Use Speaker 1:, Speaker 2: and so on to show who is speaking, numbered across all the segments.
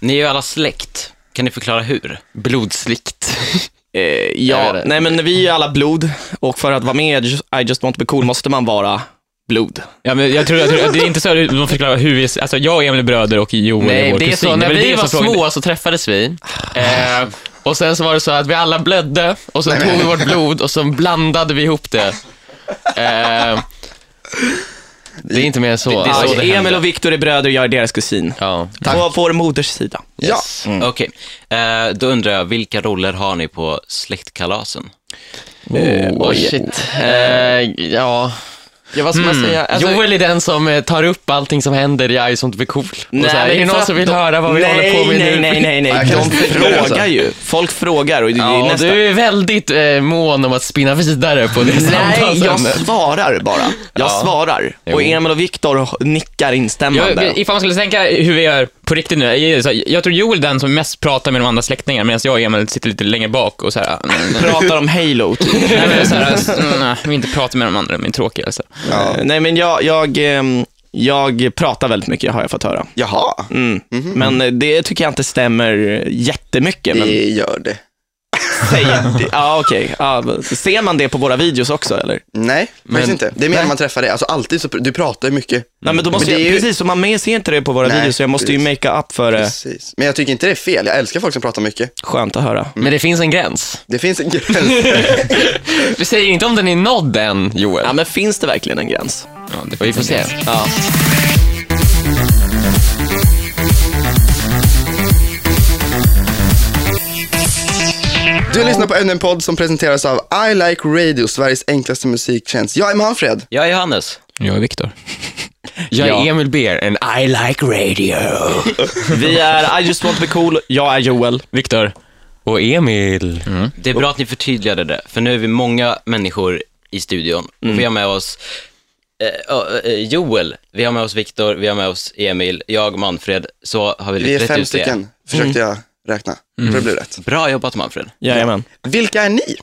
Speaker 1: Ni är ju alla släkt. Kan ni förklara hur?
Speaker 2: Blodslikt.
Speaker 3: Eh,
Speaker 2: Jag
Speaker 3: ja,
Speaker 2: vet det.
Speaker 3: nej men vi är ju alla blod och för att vara med i I just want to be cool måste man vara blod.
Speaker 4: Ja, men jag tror, jag tror, det är inte så att man förklarar hur vi, alltså jag och Emil är bröder och Joel är
Speaker 2: Nej,
Speaker 4: vår
Speaker 2: det är
Speaker 4: kusin.
Speaker 2: så. När
Speaker 4: väl
Speaker 2: vi
Speaker 4: det
Speaker 2: var
Speaker 4: som frågan-
Speaker 2: små så träffades vi. Eh, och sen så var det så att vi alla blödde och sen tog vi vårt blod och så blandade vi ihop det. Eh, det är inte mer än så.
Speaker 3: Det är
Speaker 2: Alltså,
Speaker 3: så
Speaker 2: det
Speaker 3: Emil
Speaker 2: händer.
Speaker 3: och Viktor är bröder och jag är deras kusin.
Speaker 2: Ja.
Speaker 3: På vår moders sida.
Speaker 2: Yes. Ja.
Speaker 1: Okej, eh, då undrar jag, vilka roller har ni på släktkalasen?
Speaker 2: Oh, shit. Eh, ja. Ja, vad ska
Speaker 4: Mm.
Speaker 2: man säga? Alltså, Joel är den som eh, tar upp allting som händer i Ice Don't Be Cool. Och så här,
Speaker 3: men
Speaker 2: är det
Speaker 3: för
Speaker 2: någon
Speaker 3: att
Speaker 2: som vill
Speaker 3: de-
Speaker 2: höra vad vi
Speaker 3: nej,
Speaker 2: håller på med
Speaker 3: nej,
Speaker 2: nu?
Speaker 3: Nej, nej, nej,
Speaker 5: Jag kan
Speaker 3: De
Speaker 5: inte förstå det, alltså.
Speaker 3: frågar ju. Folk frågar och det är
Speaker 2: Ja,
Speaker 3: nästa.
Speaker 2: du är väldigt eh, mån om att spinna vidare på det
Speaker 3: Nej, jag
Speaker 2: samtalsämnet.
Speaker 3: svarar bara. Jag svarar. Och Emil och Viktor nickar
Speaker 2: Mm.
Speaker 3: instämmande.
Speaker 4: Jag, ifall man skulle tänka hur vi gör på riktigt nu, jag, så här, jag tror Joel är den som mest pratar med de andra släktingarna medan jag och Emil sitter lite längre bak och så här, nej, nej,
Speaker 3: Pratar om Halo, typ.
Speaker 4: nej, men så här s- nej, vi inte pratar med de andra, de är tråkiga. Alltså.
Speaker 5: Ja.
Speaker 3: Eh, Nej, men jag, jag, ehm, jag pratar väldigt mycket, har jag fått höra.
Speaker 5: Jaha,
Speaker 3: Mm.
Speaker 5: Mhm.
Speaker 3: Men eh, det tycker jag inte stämmer jättemycket. Men
Speaker 5: det gör det.
Speaker 3: säg, det- ja, okej. Ja, ser man det på våra videos också, eller?
Speaker 5: Nej,
Speaker 2: Men-
Speaker 5: faktiskt inte. Det är mer när man träffar dig. Alltså alltid så, pr- du pratar ju mycket.
Speaker 3: Nej, men då måste
Speaker 5: Mm. Men det
Speaker 3: jag,
Speaker 5: är ju-
Speaker 3: precis, och man mer ser inte det på våra
Speaker 5: Nej,
Speaker 3: videos, så jag måste ju makea up för det.
Speaker 5: Precis. Men jag tycker inte det är fel. Jag älskar folk som pratar mycket.
Speaker 3: Skönt att höra.
Speaker 2: Men det finns en gräns.
Speaker 5: Det finns en gräns.
Speaker 2: Vi säger inte om den är nådd än, Joel.
Speaker 3: Ja, men finns det verkligen en gräns?
Speaker 4: Ja, det
Speaker 2: Vi får se.
Speaker 3: Ja.
Speaker 5: Du lyssnar på ännu en podd som presenteras av I Like Radio, Sveriges enklaste musiktjänst. Jag är Manfred.
Speaker 1: Jag är Johannes.
Speaker 4: Jag är Viktor.
Speaker 2: Jag är
Speaker 3: Ja.
Speaker 2: Emil Beer, and I like radio.
Speaker 3: Vi är I just want to be cool, jag är Joel.
Speaker 4: Viktor. Mm.
Speaker 2: Och Emil.
Speaker 1: Det är bra att ni förtydligade det, för nu är vi många människor i studion.
Speaker 4: Mm.
Speaker 1: Och vi har med oss eh, ja, eh, Joel, vi har med oss Viktor, vi har med oss Emil, jag, Manfred. Så har vi
Speaker 5: Vi
Speaker 1: lite
Speaker 5: är
Speaker 1: rätt
Speaker 5: fem
Speaker 1: ut det. Mm.
Speaker 5: stycken, försökte jag räkna. För det blev rätt.
Speaker 1: Bra jobbat Manfred.
Speaker 3: Jajamän.
Speaker 5: Vilka är ni?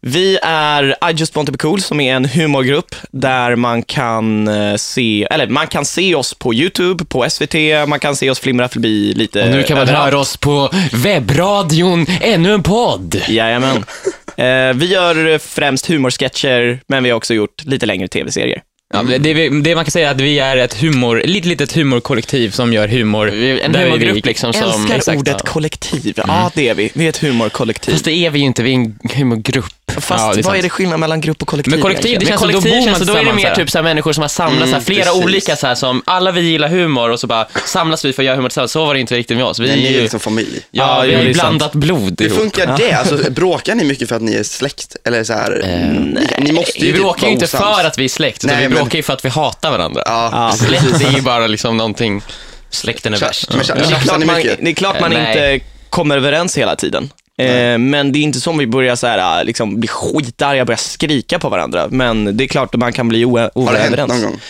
Speaker 3: Vi är I just want to be cool som är en humorgrupp där man kan eh, se, eller man kan se oss på YouTube, på SVT, man kan se oss flimra förbi lite
Speaker 2: Och nu kan man
Speaker 3: överallt.
Speaker 2: höra oss på webbradion, ännu en podd.
Speaker 3: Jajamän. Eh, vi gör främst humorsketcher, men vi har också gjort lite längre tv-serier.
Speaker 4: Ja,
Speaker 1: Mm.
Speaker 4: men det, vi- det man kan säga är att vi är ett humor, ett litet, litet humorkollektiv som gör humor.
Speaker 2: Vi- En
Speaker 4: Där är vi-
Speaker 2: humorgrupp liksom som...
Speaker 3: Älskar
Speaker 2: Exakt,
Speaker 3: ordet
Speaker 2: ja.
Speaker 3: kollektiv. Ja, det är vi. Vi är ett humorkollektiv.
Speaker 2: Fast det är vi ju inte, vi är en humorgrupp.
Speaker 3: Fast
Speaker 4: Ja, det är
Speaker 3: vad
Speaker 4: sant.
Speaker 3: är det skillnad mellan grupp och kollektiv?
Speaker 4: Men kollektiv,
Speaker 3: egentligen?
Speaker 4: det
Speaker 2: Men
Speaker 4: känns som då
Speaker 2: kollektiv
Speaker 4: bor man
Speaker 2: känns så, då är det
Speaker 4: tillsammans
Speaker 2: mer
Speaker 4: här.
Speaker 2: typ så här människor som har samlats, så här, flera
Speaker 5: precis.
Speaker 2: olika så här, som alla vi gillar humor och så bara samlas vi för att göra humor tillsammans. Så var det inte riktigt med oss. Vi
Speaker 5: Nej,
Speaker 2: är
Speaker 5: ni är
Speaker 2: ju,
Speaker 5: liksom familj.
Speaker 2: ja, vi
Speaker 3: Ja,
Speaker 2: har
Speaker 3: det
Speaker 2: ju
Speaker 3: är sant.
Speaker 2: blandat blod
Speaker 5: Hur
Speaker 2: ihop.
Speaker 5: funkar det? Alltså, bråkar ni mycket för att ni är släkt? Eller så här, ni, ni måste ju
Speaker 2: Eh, Vi
Speaker 5: typ
Speaker 2: bråkar
Speaker 5: vara
Speaker 2: ju inte
Speaker 5: osams.
Speaker 2: för att vi är släkt, utan
Speaker 5: Nej,
Speaker 2: vi
Speaker 5: men-
Speaker 2: bråkar ju för att vi hatar varandra.
Speaker 5: Ja,
Speaker 3: Ja,
Speaker 5: precis.
Speaker 2: Släkt är ju bara liksom någonting.
Speaker 1: Släkten är värst.
Speaker 5: Men tja-
Speaker 3: Det är
Speaker 5: tjafsar
Speaker 3: klart
Speaker 5: ni
Speaker 3: man,
Speaker 5: mycket?
Speaker 3: det är klart man
Speaker 2: Eh, nej.
Speaker 3: inte kommer överens hela tiden. Eh, men det är inte som vi börjar så här, liksom, bli skitarga och börja skrika på varandra. Men det är klart att man kan bli oe-
Speaker 5: Har det hänt
Speaker 3: oöverens.
Speaker 5: någon gång?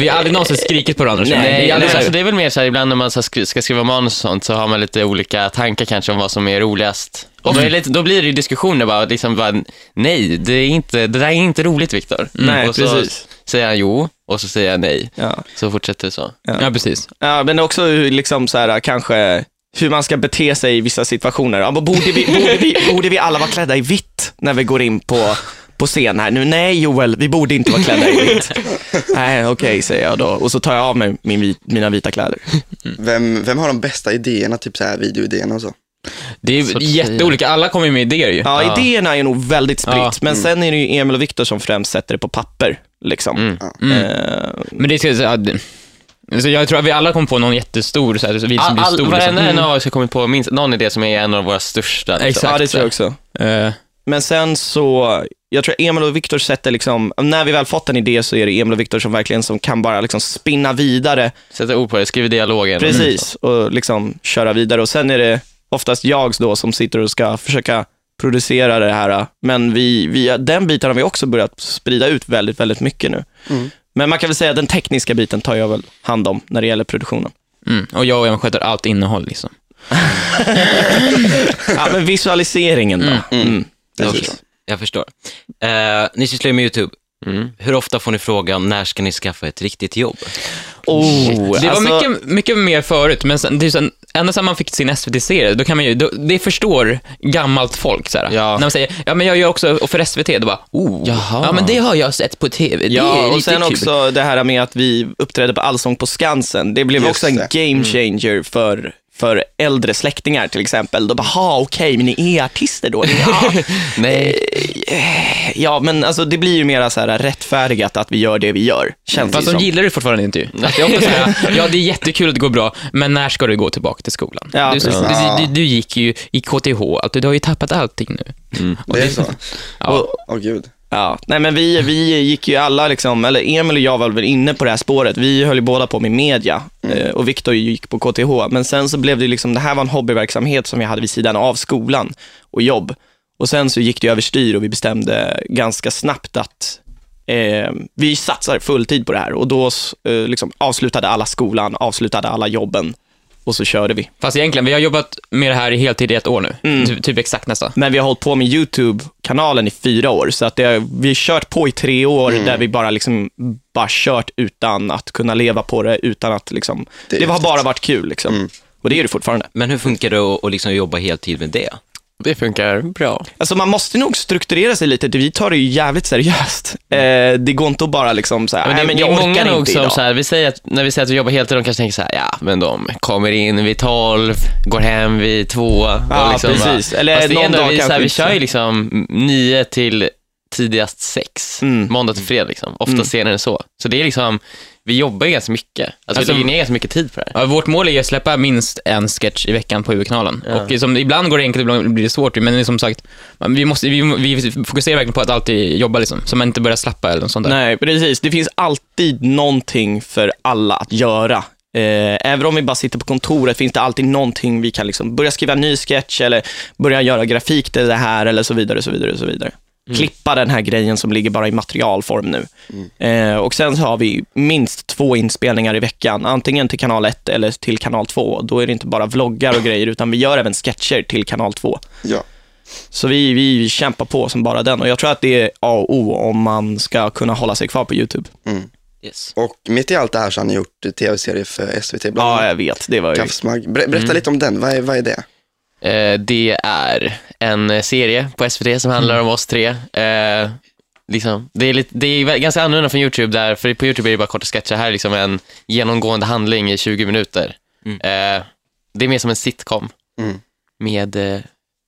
Speaker 4: Vi har aldrig någonsin skrikit på varandra. så.
Speaker 2: Eh, Nej,
Speaker 4: Vi har aldrig
Speaker 2: nej,
Speaker 4: så här-
Speaker 2: alltså det är väl mer så här, ibland när man så här skri- ska skriva manus och sånt så har man lite olika tankar kanske om vad som är roligast. Och då, är det lite, då blir det ju diskussioner bara, liksom bara, nej, det, är inte, det där är inte roligt Viktor.
Speaker 4: Mm.
Speaker 3: Nej,
Speaker 2: och så
Speaker 3: precis.
Speaker 2: säger han jo, och så säger jag nej.
Speaker 3: Ja.
Speaker 2: Så fortsätter det så.
Speaker 4: Ja, precis.
Speaker 3: Ja, men också hur, liksom så här, kanske hur man ska bete sig i vissa situationer. Ja, men borde, vi, borde, vi, borde vi alla vara klädda i vitt när vi går in på, på scen här nu? Nej Joel, vi borde inte vara klädda i vitt. Nej, okej säger jag då. Och så tar jag av mig min, vit- mina vita kläder.
Speaker 2: Mm.
Speaker 5: Vem, vem har de bästa idéerna, typ så här videoidéerna och så?
Speaker 4: Det är ju
Speaker 2: Sortera.
Speaker 4: jätteolika, alla kommer ju med idéer ju.
Speaker 3: Ja,
Speaker 2: Ja.
Speaker 3: idéerna är nog väldigt spritt,
Speaker 4: Ja.
Speaker 3: men sen är det ju Emil och Viktor som främst sätter det på papper. Liksom. Eh,
Speaker 4: Men det ska jag säga, ja, så jag tror att vi alla kommer på någon jättestor så här, så vid som
Speaker 2: All,
Speaker 4: blir
Speaker 2: all,
Speaker 4: stor.
Speaker 2: varenda
Speaker 4: liksom.
Speaker 2: en av oss har kommit på minst någon idé som är en av våra största. liksom.
Speaker 4: Exakt.
Speaker 3: ja, det tror jag också.
Speaker 4: Eh,
Speaker 3: Men sen så, jag tror Emil och Viktor sätter liksom, när vi väl fått en idé så är det Emil och Viktor som verkligen som kan bara liksom spinna vidare,
Speaker 2: Sätta ord på det, skriv dialogen.
Speaker 3: precis, och liksom köra vidare. Och sen är det oftast jag då som sitter och ska försöka producera det här. Men vi, vi, den biten har vi också börjat sprida ut väldigt, väldigt mycket nu. Men man kan väl säga att den tekniska biten tar jag väl hand om när det gäller produktionen.
Speaker 4: mm. Och jag och Emma sköter allt innehåll liksom.
Speaker 3: Ja, men visualiseringen då. Mm.
Speaker 1: Jag förstår. Jag förstår. Eh, ni sysslar ju med YouTube. Hur ofta får ni frågan, när ska ni skaffa ett riktigt jobb?
Speaker 3: Oh,
Speaker 4: Det var
Speaker 3: alltså-
Speaker 4: mycket, mycket mer förut, men sen, det är ju sen, ända sedan man fick sin SVT-serie, då kan man ju, då, det förstår gammalt folk så här.
Speaker 2: Ja.
Speaker 4: När man säger, ja men jag gör också, och för SVT, då bara, oh,
Speaker 2: Jaha.
Speaker 4: ja men det har jag sett på TV, det
Speaker 3: Ja,
Speaker 4: är
Speaker 3: och
Speaker 4: lite
Speaker 3: sen
Speaker 4: kul.
Speaker 3: också det här med att vi uppträdde på Allsång på Skansen. Det blev
Speaker 5: Just
Speaker 3: också en
Speaker 5: det.
Speaker 4: Mm.
Speaker 3: game changer för, för äldre släktingar till exempel. De bara, "Ha, okej, men ni är artister då? Ja,
Speaker 2: Nej.
Speaker 3: ja men alltså det blir ju mera så här rättfärdigat att vi gör det vi gör, känns det
Speaker 4: Fast de
Speaker 3: som.
Speaker 4: gillar det fortfarande inte ju. Att det är ofta så här, ja det är jättekul att det går bra, men när ska du gå tillbaka till skolan?
Speaker 3: Ja,
Speaker 4: du,
Speaker 3: precis.
Speaker 4: du, du, du gick ju i KTH, alltså, du har ju tappat allting nu.
Speaker 5: Det är så?
Speaker 4: Ja.
Speaker 5: Åh gud.
Speaker 3: Ja, nej men vi, vi gick ju alla, liksom, eller Emil och jag var väl inne på det här spåret. Vi höll ju båda på med media eh, och Viktor gick på KTH. Men sen så blev det liksom, det här var en hobbyverksamhet som jag hade vid sidan av skolan och jobb. Och sen så gick det överstyr och vi bestämde ganska snabbt att eh, vi satsar fulltid på det här. Och då eh, liksom, avslutade alla skolan, avslutade alla jobben och så körde vi.
Speaker 4: Fast egentligen, vi har jobbat med det här i heltid i ett år nu.
Speaker 3: Mm.
Speaker 4: Ty, typ exakt nästan.
Speaker 3: Men vi har hållit på med YouTube-kanalen i fyra år, så att det, har- vi har kört på i tre år där vi bara liksom bara kört utan att kunna leva på det, utan att liksom, det,
Speaker 5: är
Speaker 3: har
Speaker 5: häftigt.
Speaker 3: bara varit kul liksom. Och det är det fortfarande.
Speaker 1: Men hur funkar det att, att liksom jobba heltid med det?
Speaker 2: Det funkar bra.
Speaker 3: Alltså man måste nog strukturera sig lite, vi tar det ju jävligt seriöst. Eh, det går inte att bara liksom såhär,
Speaker 2: Men det,
Speaker 3: nej men
Speaker 2: det
Speaker 3: jag
Speaker 2: är många
Speaker 3: orkar
Speaker 2: nog
Speaker 3: inte
Speaker 2: som
Speaker 3: idag.
Speaker 2: så här, vi säger att, när vi säger att vi jobbar heltid, de kanske tänker så här, ja men de kommer in vid 12, går hem vid 2.
Speaker 3: Ja, precis. Eller
Speaker 2: Fast det
Speaker 3: någon
Speaker 2: är ändå,
Speaker 3: dag
Speaker 2: vi, så här,
Speaker 3: kanske
Speaker 2: vi
Speaker 3: inte.
Speaker 2: kör ju liksom 9 till tidigast 6,
Speaker 3: Mm.
Speaker 2: måndag till fredag liksom. Ofta
Speaker 4: Mm.
Speaker 2: senare än så. Så det är liksom, vi jobbar ju ganska mycket. Alltså,
Speaker 4: Alltså,
Speaker 2: vi lägger ner ganska mycket tid på det här.
Speaker 4: Ja, vårt mål är ju att släppa minst en sketch i veckan på huvudkanalen. Och som, ibland går det enkelt, ibland blir det svårt ju, men det är som sagt, man- vi, måste, vi, vi fokuserar verkligen på att alltid jobba liksom, så man inte börjar slappa eller något sånt där.
Speaker 3: Nej, precis. Det finns alltid någonting för alla att göra. Eh, även om vi bara sitter på kontoret finns det alltid någonting vi kan liksom börja skriva en ny sketch eller börja göra grafik till det här eller så vidare. så vidare, så vidare.
Speaker 4: Mm.
Speaker 3: Klippa den här grejen som ligger bara i materialform nu.
Speaker 4: Mm.
Speaker 3: Eh, och Sen så har vi minst två inspelningar i veckan, antingen till kanal 1 eller till kanal 2. Då är det inte bara vloggar och grejer, utan vi gör även sketcher till kanal 2.
Speaker 5: Ja.
Speaker 3: Så vi, vi kämpar på som bara den och jag tror att det är A och O om man ska kunna hålla sig kvar på YouTube.
Speaker 1: Yes.
Speaker 5: Och mitt i allt det här så har ni gjort eh, tv-serier för SVT, bland
Speaker 3: Ja,
Speaker 5: annat
Speaker 3: jag vet. Det var ju...
Speaker 5: Kafsmagg. Ber- berätta
Speaker 2: Mm.
Speaker 5: lite om den, vad är, vad är det?
Speaker 2: Eh, det är en eh, serie på SVT som handlar om oss tre. Eh, liksom, det, är lite, det är vä- ganska annorlunda från YouTube, där, för på YouTube är det bara korta sketcher. Här är liksom en genomgående handling i 20 minuter.
Speaker 3: Mm.
Speaker 2: Eh, det är mer som en sitcom,
Speaker 5: Mm.
Speaker 2: med, eh,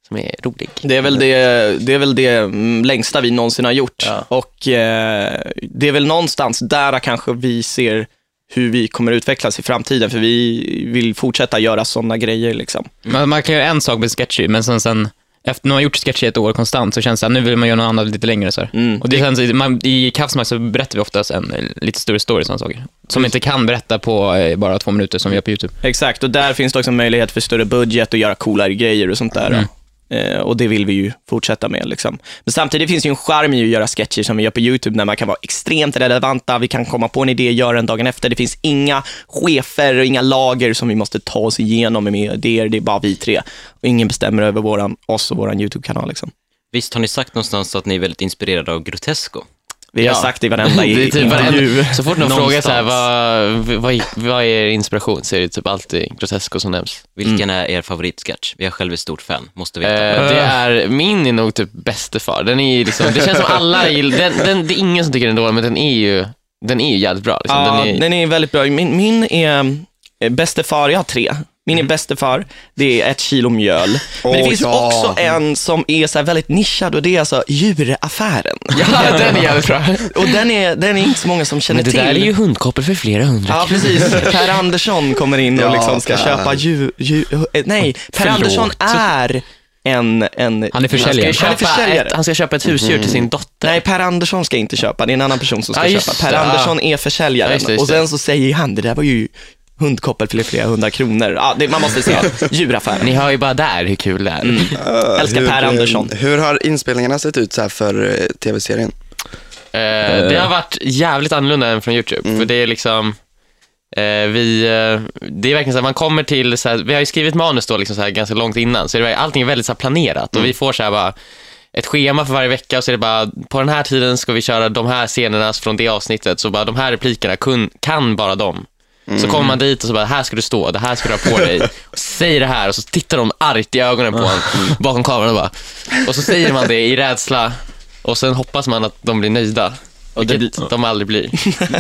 Speaker 2: som är rolig.
Speaker 3: Det är, väl det, det är väl det mm, längsta vi någonsin har gjort. Och eh, det är väl någonstans där kanske vi ser hur vi kommer utvecklas i framtiden, för vi vill fortsätta göra sådana grejer. Liksom.
Speaker 4: Man, man kan göra en sak med sketchy, men sen, sen efter man har gjort sketchy ett år konstant så känns det att nu vill man göra något annat lite längre. Så här. Och det känns, man, I Kafsmark så berättar vi oftast en eh, lite större story, sådana saker. Som vi inte kan berätta på eh, bara två minuter som vi gör på YouTube.
Speaker 3: Exakt, och där finns det också möjlighet för större budget och göra coolare grejer och sånt där.
Speaker 2: Mm.
Speaker 3: Eh, och det vill vi ju fortsätta med. Liksom. Men samtidigt finns det ju en charm i att göra sketcher som vi gör på YouTube, när man kan vara extremt relevanta, vi kan komma på en idé, göra den dagen efter. Det finns inga chefer och inga lager som vi måste ta oss igenom med idéer, det är bara vi tre. Och ingen bestämmer över våran, oss och vår YouTube-kanal. Liksom.
Speaker 1: Visst har ni sagt någonstans att ni är väldigt inspirerade av Grotesco?
Speaker 3: Vi har
Speaker 2: Ja.
Speaker 3: sagt det i varenda
Speaker 2: Det är
Speaker 3: i-
Speaker 2: typ
Speaker 3: intervju.
Speaker 2: varenda, så fort någon frågar så här, vad,
Speaker 1: Någonstans.
Speaker 2: vad, vad är er inspiration så är det typ alltid Grotesco som nämns.
Speaker 1: Vilken är er favoritsketch? Jag är själv ett stort fan, måste
Speaker 2: Eh,
Speaker 1: veta.
Speaker 2: det är, min är nog typ bäste far. Den är ju liksom, det känns som alla gillar, den, den, det är ingen som tycker den är dålig, men den är ju, den är ju jävligt bra. Liksom.
Speaker 3: Ja,
Speaker 2: den är,
Speaker 3: väldigt bra. Min, min är eh, bäste far, jag har tre. Min är
Speaker 2: Mhm.
Speaker 3: bäste far, det är ett kilo mjöl. Men det
Speaker 5: Åh,
Speaker 3: finns
Speaker 5: ja.
Speaker 3: också en som är så här väldigt nischad och det är alltså djuraffären.
Speaker 2: ja, den är jävligt bra.
Speaker 3: Och den är, den är inte så många som känner
Speaker 2: Men det
Speaker 3: till.
Speaker 2: där är ju hundkoppel för flera hundra.
Speaker 3: Ja, precis. Per Andersson kommer in och
Speaker 5: Ja,
Speaker 3: liksom ska
Speaker 5: Per.
Speaker 3: köpa djur... Dju, eh, nej, Per
Speaker 2: Förlåt.
Speaker 3: Andersson är en... en
Speaker 4: Han är försäljare.
Speaker 2: Han ska,
Speaker 3: Han är
Speaker 2: ju köpa
Speaker 3: försäljare.
Speaker 2: ett, han ska köpa ett husdjur till sin dotter.
Speaker 3: Nej, Per Andersson ska inte köpa, det är en annan person som ska
Speaker 2: Ja, just
Speaker 3: köpa. Per
Speaker 2: det,
Speaker 3: Andersson är försäljaren
Speaker 2: Ja, just det, just
Speaker 3: och sen så säger han, det där var ju hundkoppel för flera hundra kronor. Ja, det, man måste säga djuraffären.
Speaker 2: Ni hör ju bara där hur kul det är.
Speaker 5: Eh,
Speaker 3: Älskar Per
Speaker 5: eh,
Speaker 3: Andersson.
Speaker 5: Hur har inspelningarna sett ut så här för eh, tv-serien?
Speaker 2: Eh, det har varit jävligt annorlunda än från YouTube. För det är liksom, eh, vi, eh, det är verkligen så här, man kommer till, så här, vi har ju skrivit manus då liksom så här, ganska långt innan, så det är, allting är väldigt så här, planerat och vi får så här bara ett schema för varje vecka och så är det bara, på den här tiden ska vi köra de här scenerna från det avsnittet, så bara de här replikerna kun, kan bara dem. Så kommer man dit och så bara, här ska du stå, det här ska du ha på dig. Och säger det här och så tittar de argt i ögonen på en bakom kameran och bara. Och så säger man det i rädsla och sen hoppas man att de blir nöjda. Och
Speaker 1: det
Speaker 2: vilket de aldrig blir.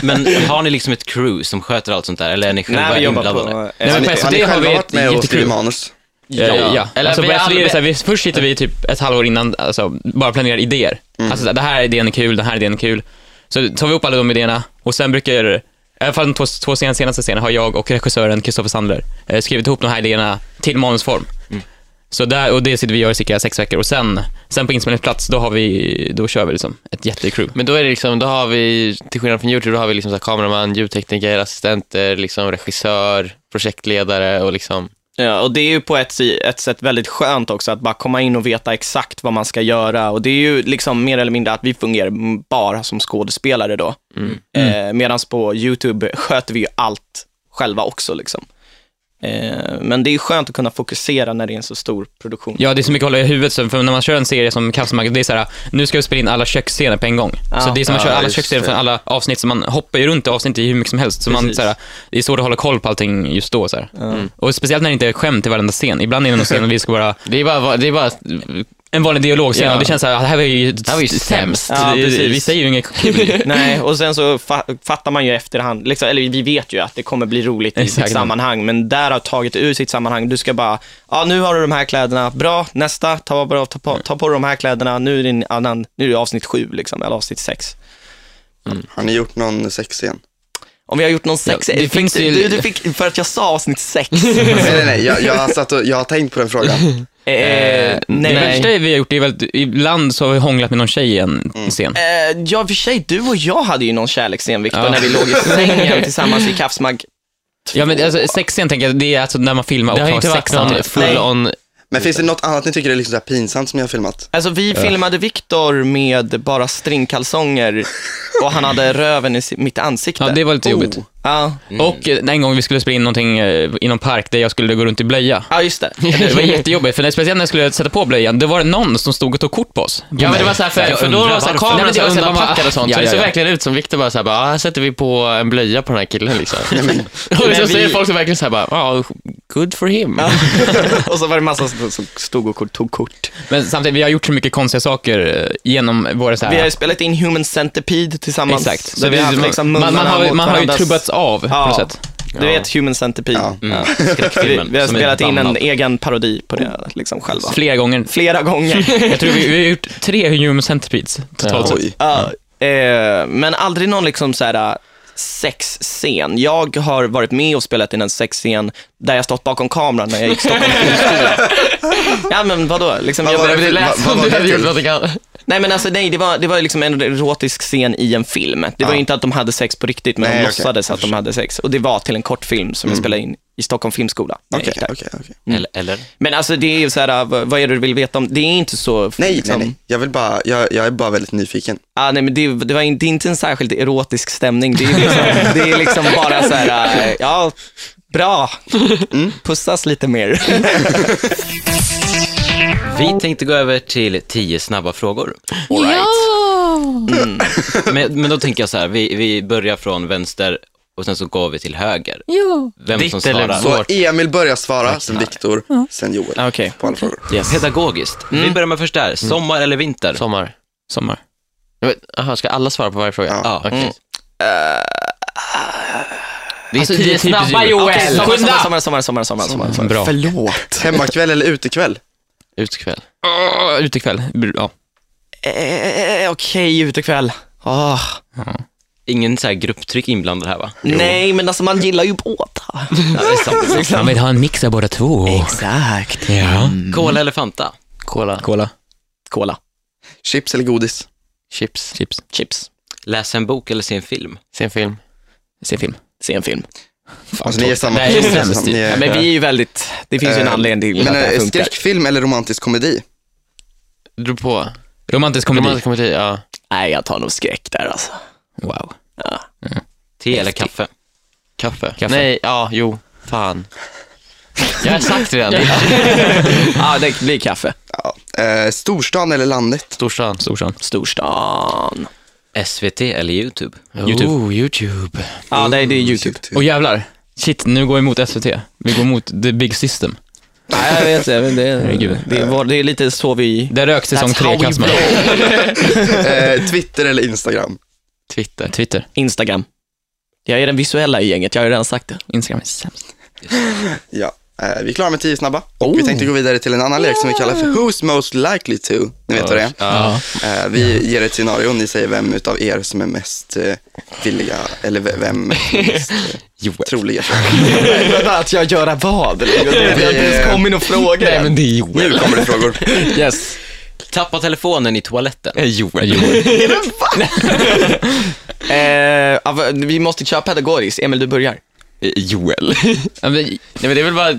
Speaker 1: Men har ni liksom ett crew som sköter allt sånt där, eller är ni själva
Speaker 3: Nej, vi jobbar
Speaker 1: inblandade?
Speaker 3: på...
Speaker 2: Nej, men på
Speaker 5: Har
Speaker 2: SVT
Speaker 5: ni
Speaker 2: har vi
Speaker 5: själva varit
Speaker 2: ett
Speaker 5: med och skrivit
Speaker 2: jättekul.
Speaker 5: manus?
Speaker 4: Ja. ja.
Speaker 2: Eller
Speaker 4: alltså,
Speaker 2: vi
Speaker 4: på
Speaker 2: har
Speaker 4: SVT är
Speaker 2: aldrig-
Speaker 4: det så här, vi, först sitter vi typ ett halvår innan, alltså, bara planerar idéer.
Speaker 2: Mm.
Speaker 4: Alltså, så här, det här idén är kul, den här idén är kul. Så tar vi upp alla de idéerna och sen brukar, i alla fall de två, två sen- senaste scenerna, har jag och regissören Kristoffer Sandler eh, skrivit ihop de här idéerna till manusform.
Speaker 2: Mm.
Speaker 4: Så där, och det sitter vi och gör i cirka sex veckor och sen, sen på inspelningsplats, då har vi, då kör vi liksom ett jättecrew.
Speaker 2: Men då är det liksom, då har vi, till skillnad från YouTube, då har vi liksom så här kameraman, ljudtekniker, assistenter, liksom regissör, projektledare och liksom
Speaker 3: Ja, och det är ju på ett, si- ett sätt väldigt skönt också att bara komma in och veta exakt vad man ska göra. Och det är ju liksom mer eller mindre att vi fungerar m- bara som skådespelare då. Eh, Medan på YouTube sköter vi ju allt själva också liksom. Eh, men det är ju skönt att kunna fokusera när det är en så stor produktion.
Speaker 4: Ja, det är så mycket att hålla i huvudet, så för när man kör en serie som Kaffesmack, det är så här, nu ska vi spela in alla köksscener på en gång. så det är som att
Speaker 5: Ja,
Speaker 4: köra alla
Speaker 5: just
Speaker 4: köksscener
Speaker 5: det.
Speaker 4: från alla avsnitt, så man hoppar ju runt i avsnitt i hur mycket som helst. Så man,
Speaker 3: Precis.
Speaker 4: så här, det är svårt att hålla koll på allting just då. Så här. Och speciellt när det inte är skämt i varenda scen. Ibland är det någon scen där vi ska vara
Speaker 2: Det är bara, det är bara
Speaker 4: en vanlig dialogscen
Speaker 2: Ja.
Speaker 4: och det känns så här, det här var ju, det
Speaker 2: här var ju sämst.
Speaker 3: Ja, precis.
Speaker 4: vi säger ju inget kul.
Speaker 3: Nej, och sen så fa- fattar man ju efterhand, liksom, eller vi vet ju att det kommer bli roligt i sitt
Speaker 4: Exakt.
Speaker 3: sammanhang, men där har tagit ur sitt sammanhang. Du ska bara, ja nu har du de här kläderna, bra, nästa, ta, bra, ta, på, ta på dig de här kläderna, nu är det, en annan, nu är det avsnitt sju, liksom, eller avsnitt sex.
Speaker 5: Har ni gjort någon sexscen?
Speaker 3: Om vi har gjort någon sex,
Speaker 4: Ja, det
Speaker 3: fick
Speaker 4: finns
Speaker 3: du,
Speaker 4: ju-
Speaker 3: du, du fick, för att jag sa avsnitt sex.
Speaker 5: nej, nej, nej. Jag, jag, har satt och, jag har tänkt på den frågan.
Speaker 3: eh, nej.
Speaker 4: Det värsta vi har gjort är väl att ibland så har vi hånglat med någon tjej i en scen.
Speaker 3: Eh, ja, i och för sig, du och jag hade ju någon kärleksscen, Viktor, när vi låg i sängen tillsammans i Kaffsmagg.
Speaker 4: Ja, men alltså, sexscen tänker jag, det är alltså när man filmar och
Speaker 2: Det har
Speaker 4: har
Speaker 2: inte
Speaker 4: sex
Speaker 2: varit någon
Speaker 4: samtidigt.
Speaker 2: full on,
Speaker 5: Men finns det något annat ni tycker är liksom så här pinsamt som jag har filmat?
Speaker 3: Alltså vi
Speaker 4: Äh.
Speaker 3: filmade Viktor med bara stringkalsonger och han hade röven i si- mitt ansikte.
Speaker 4: Ja, det var lite jobbigt.
Speaker 3: Ja,
Speaker 4: Och eh, en gång vi skulle spela in någonting eh, i någon park där jag skulle gå runt i blöja.
Speaker 3: ja just det.
Speaker 4: Det var jättejobbigt, för när, speciellt när jag skulle sätta på blöjan, det var det någon som stod och tog kort på oss. På
Speaker 2: Ja men
Speaker 4: mig.
Speaker 2: det var såhär, för,
Speaker 4: Jag
Speaker 2: för då
Speaker 4: undrar
Speaker 2: var såhär,
Speaker 4: varför. Nej,
Speaker 2: kameran
Speaker 4: men
Speaker 2: så
Speaker 4: jag undrar
Speaker 2: undanpackad
Speaker 4: bara-
Speaker 2: och sånt,
Speaker 4: Ja,
Speaker 2: "Ah, så det
Speaker 4: ja,
Speaker 2: såg
Speaker 4: ja.
Speaker 2: verkligen ut som Viktor bara såhär, bara, ah, här sätter vi på en blöja på den här killen liksom. och så
Speaker 3: Men
Speaker 2: säger
Speaker 3: vi-
Speaker 2: folk som verkligen såhär bara, ah, good for him.
Speaker 3: och så var det massa som som stod och kort- tog kort.
Speaker 4: Men samtidigt, vi har gjort så mycket konstiga saker eh, genom våra så här,
Speaker 3: Vi har ju spelat in Human Centipede tillsammans.
Speaker 4: Exakt.
Speaker 3: Så vi har haft liksom
Speaker 4: man, man,
Speaker 3: munnarna
Speaker 4: har, ju-
Speaker 3: mot
Speaker 4: man har ju
Speaker 3: varandras-
Speaker 4: trubbats av på
Speaker 3: Ja.
Speaker 4: något sätt.
Speaker 3: Du vet Human Centipede.
Speaker 5: Ja.
Speaker 1: Mm.
Speaker 3: Vi,
Speaker 1: Skräckfilmen.
Speaker 3: vi har
Speaker 1: som är
Speaker 3: spelat in en
Speaker 1: damnad.
Speaker 3: egen parodi på det liksom själva.
Speaker 4: Flera gånger.
Speaker 3: Flera gånger.
Speaker 4: Jag tror vi, vi har gjort tre human centipedes totalt
Speaker 2: Ja.
Speaker 4: sett.
Speaker 3: Ja, eh, men aldrig någon liksom så här eh, sexscen. Jag har varit med och spelat in en sexscen där jag stått bakom kameran när jag gick Stockholm filmskola. Ja men vadå? Liksom,
Speaker 5: Vad
Speaker 3: jag
Speaker 5: var
Speaker 3: bara,
Speaker 5: det
Speaker 2: Det
Speaker 5: för-
Speaker 2: lät
Speaker 5: vad- vad
Speaker 2: som
Speaker 5: var
Speaker 2: du
Speaker 5: det
Speaker 2: hade
Speaker 5: till?
Speaker 2: gjort någonting annat.
Speaker 3: nej men alltså nej, det var, det var liksom en erotisk scen i en film. Det var
Speaker 5: Ja.
Speaker 3: ju inte att de hade sex på riktigt men
Speaker 5: Nej,
Speaker 3: de
Speaker 5: okej.
Speaker 3: låtsades
Speaker 5: Jag Mm.
Speaker 3: att de hade sex. Och det var till en kortfilm som jag spelade in i Stockholm filmskola. när jag
Speaker 5: Okej,
Speaker 3: gick där.
Speaker 5: okej, okej.
Speaker 1: Eller, eller?
Speaker 3: Men alltså det är ju så här, eh, vad, vad är det du vill veta om? Det är inte så...
Speaker 5: Nej,
Speaker 3: liksom-
Speaker 5: nej, nej. Jag vill bara, jag, jag är bara väldigt nyfiken.
Speaker 3: Ah, nej, men det, det, var in, det är inte en särskilt erotisk stämning. Det är liksom, det är liksom bara så här, eh, ja, bra. Mm. Pussas lite mer.
Speaker 1: Vi tänkte gå över till tio snabba frågor. All Men, men då tänker jag så här, vi, vi börjar från vänster och sen så går vi till höger. Vem
Speaker 2: Ditt
Speaker 1: som
Speaker 2: eller
Speaker 1: svarar.
Speaker 5: Så Emil börjar svara, sen Viktor, sen Joel.
Speaker 3: Ah, Okej.
Speaker 5: På alla frågor.
Speaker 1: Pedagogiskt. Vi börjar med första här, sommar eller vinter?
Speaker 2: Sommar.
Speaker 4: Sommar.
Speaker 2: Men, Jaha, ska alla svara på varje fråga?
Speaker 1: Ja.
Speaker 2: Okej.
Speaker 1: Mm.
Speaker 2: Det är
Speaker 4: Alltså, det är
Speaker 2: tio
Speaker 4: typiskt
Speaker 2: snabba
Speaker 4: jul.
Speaker 2: Joel.
Speaker 3: Okay,
Speaker 2: Okay,
Speaker 3: sommar, sommar, sommar, sommar, sommar, sommar, sommar.
Speaker 4: Bra.
Speaker 5: Förlåt. Hemmakväll eller utekväll?
Speaker 2: Utekväll.
Speaker 4: Åh, Utekväll. Br- Ja.
Speaker 3: Eh, Okej, utekväll. Ah.
Speaker 1: Ingen så här grupptryck inblandad här va?
Speaker 3: Nej, men alltså man gillar ju båda.
Speaker 1: Ja, det är sant.
Speaker 4: Man vill ha en mix av båda två.
Speaker 3: Exakt.
Speaker 4: Ja.
Speaker 1: Cola eller Fanta?
Speaker 2: Cola.
Speaker 4: Cola.
Speaker 3: Cola,
Speaker 5: Chips eller godis?
Speaker 2: Chips.
Speaker 4: Chips.
Speaker 3: chips,
Speaker 1: Läsa en bok eller se en film?
Speaker 2: Se en film.
Speaker 4: Se film.
Speaker 3: se en film.
Speaker 5: Alltså ni är samma
Speaker 4: Nej,
Speaker 5: person,
Speaker 4: det är
Speaker 5: nästan.
Speaker 4: sämst.
Speaker 5: Ni är-
Speaker 3: Ja, men vi är ju väldigt, det finns ju en
Speaker 5: Eh,
Speaker 3: anledning till
Speaker 5: Men
Speaker 3: att det
Speaker 5: är
Speaker 3: här
Speaker 5: det
Speaker 3: funkar.
Speaker 5: skräckfilm eller romantisk komedi?
Speaker 2: Drog på.
Speaker 4: Romantisk komedi.
Speaker 2: Romantisk komedi, ja.
Speaker 3: Nej, jag tar nog skräck där alltså.
Speaker 4: Wow.
Speaker 1: Te eller kaffe?
Speaker 2: Kaffe.
Speaker 4: Kaffe.
Speaker 2: Nej, ja, jo. Fan. Jag har sagt redan.
Speaker 3: Ja, det blir kaffe.
Speaker 5: Ja. Eh, storstan eller landet?
Speaker 2: Storstan.
Speaker 4: Storstan.
Speaker 3: Storstan.
Speaker 1: SVT eller YouTube?
Speaker 2: YouTube. Oh, YouTube.
Speaker 5: typ?
Speaker 3: Ja, nej, det är typ- YouTube.
Speaker 4: Och jävlar. Shit, nu går vi mot SVT. Vi går mot the big system.
Speaker 3: Nej, jag vet det. Men det,
Speaker 4: Herregud.
Speaker 3: det, är, vår- det är lite så vi...
Speaker 4: Där rök säsong
Speaker 2: That's how
Speaker 4: tre
Speaker 2: we
Speaker 4: Kasper.
Speaker 5: Eh, Twitter eller Instagram?
Speaker 2: Twitter.
Speaker 4: Twitter,
Speaker 3: Instagram. Jag är den visuella i gänget, jag har ju redan sagt det.
Speaker 4: Instagram är sämst.
Speaker 5: Ja. Eh, vi är klara med tio snabba. Och vi tänkte gå vidare till en annan lek som vi kallar för Who's most likely to? Ni vet vad det är.
Speaker 1: Ja.
Speaker 5: Eh, vi ger ett scenario och ni säger vem utav er som är mest eh, villiga, eller ve- vem som är mest eh, troliga.
Speaker 3: Men att jag göra vad? eller?
Speaker 5: Vi, eh,
Speaker 3: Kom in och fråga.
Speaker 2: Nej, men det är
Speaker 5: nu
Speaker 2: Joel.
Speaker 5: kommer det frågor.
Speaker 3: Yes.
Speaker 1: Tappa telefonen i toaletten.
Speaker 2: Eh, Joel. Joel.
Speaker 3: Eh, av- vi måste köra pedagogiskt. Emil, du börjar.
Speaker 2: Eh, Joel.
Speaker 4: Ja, men,
Speaker 2: Nej, men det är väl bara...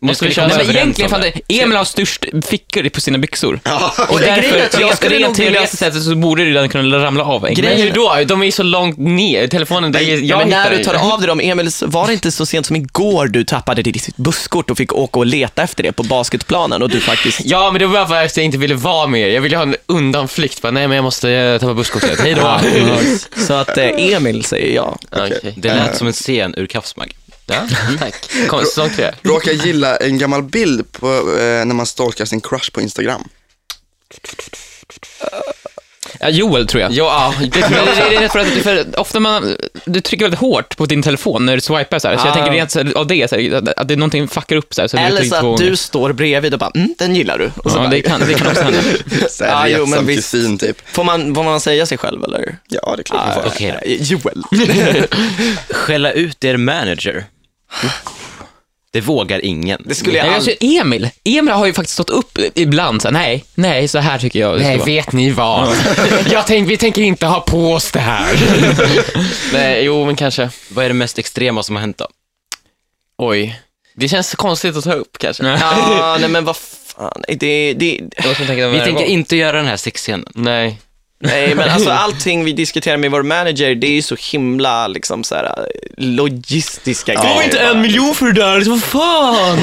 Speaker 2: Måste vi
Speaker 1: vi
Speaker 2: köra
Speaker 1: komma
Speaker 4: nej, men
Speaker 1: överens
Speaker 4: egentligen,
Speaker 1: om
Speaker 4: fan,
Speaker 1: det.
Speaker 4: det- Emil har störst fickor på sina byxor.
Speaker 5: Ja.
Speaker 4: Och
Speaker 3: grejen är att
Speaker 4: därför,
Speaker 3: jag
Speaker 4: jag
Speaker 3: skulle
Speaker 4: skulle rent
Speaker 3: nog vilja-
Speaker 4: teoretiskt sett så borde du den kunna ramla av. en gång.
Speaker 2: Grejen är ju då, de är ju så långt ner. Telefonen, där jag,
Speaker 3: ja, men när
Speaker 2: hittar
Speaker 3: du tar
Speaker 2: ju.
Speaker 3: av dig dem, Emil, var det inte så sent som igår du tappade ditt busskort och fick åka och leta efter det på basketplanen och du faktiskt...
Speaker 2: Ja, men det var bara för att jag inte ville vara med er. Jag ville ha en undanflykt. Bara, nej, men jag måste eh, tappa busskortet. Hej då.
Speaker 3: Så att eh, Emil säger ja.
Speaker 2: Okej.
Speaker 1: Det lät som en scen ur Kafsmag.
Speaker 2: Ja, tack. Kom, säsong tre.
Speaker 5: Råkar gilla en gammal bild på, eh, när man stalkar sin crush på Instagram.
Speaker 4: Ja, Joel tror jag.
Speaker 2: Jo, ja, det tror
Speaker 4: Men
Speaker 2: jag
Speaker 4: det,
Speaker 2: också.
Speaker 4: det, det är för att för ofta man, du trycker väldigt hårt på din telefon när du swipar så här. Så
Speaker 3: Ah.
Speaker 4: jag tänker rent så här, av det, så här, att- att det är någonting fuckar upp så här. Så du
Speaker 3: Eller
Speaker 4: trycker
Speaker 3: så
Speaker 4: två
Speaker 3: att
Speaker 4: gånger.
Speaker 3: du står bredvid och bara, mm, den gillar du. Och så
Speaker 4: Ja,
Speaker 3: bara,
Speaker 4: det kan, det kan också hända.
Speaker 5: Så här,
Speaker 3: Ja, jo, men
Speaker 5: retsam
Speaker 3: visst.
Speaker 5: kusin typ.
Speaker 3: får, man, får man säga sig själv eller?
Speaker 5: Ja, det är klart man får.
Speaker 1: Okej då.
Speaker 3: Eh, Joel.
Speaker 1: Skälla ut er manager. Det vågar ingen.
Speaker 3: Det skulle jag
Speaker 4: Nej,
Speaker 3: aldrig...
Speaker 4: alltså, Emil, Emil har ju faktiskt stått upp ibland så här, nej, nej, så här tycker jag det ska
Speaker 2: Nej,
Speaker 4: vara.
Speaker 2: vet ni vad? Jag tänk, vi tänker inte ha på oss det här. Nej, jo, men kanske.
Speaker 1: Vad är det mest extrema som har hänt då?
Speaker 2: Oj. Det känns konstigt att ta upp kanske.
Speaker 3: Ja, nej men vad fan. Det, det,
Speaker 2: Jag måste tänka
Speaker 1: Vi tänker inte göra den här sexscenen.
Speaker 2: Nej.
Speaker 3: nej, men alltså allting vi diskuterar med vår manager, det är ju så himla liksom så här, logistiska grejer. bara.
Speaker 2: miljon för det där, vad fan!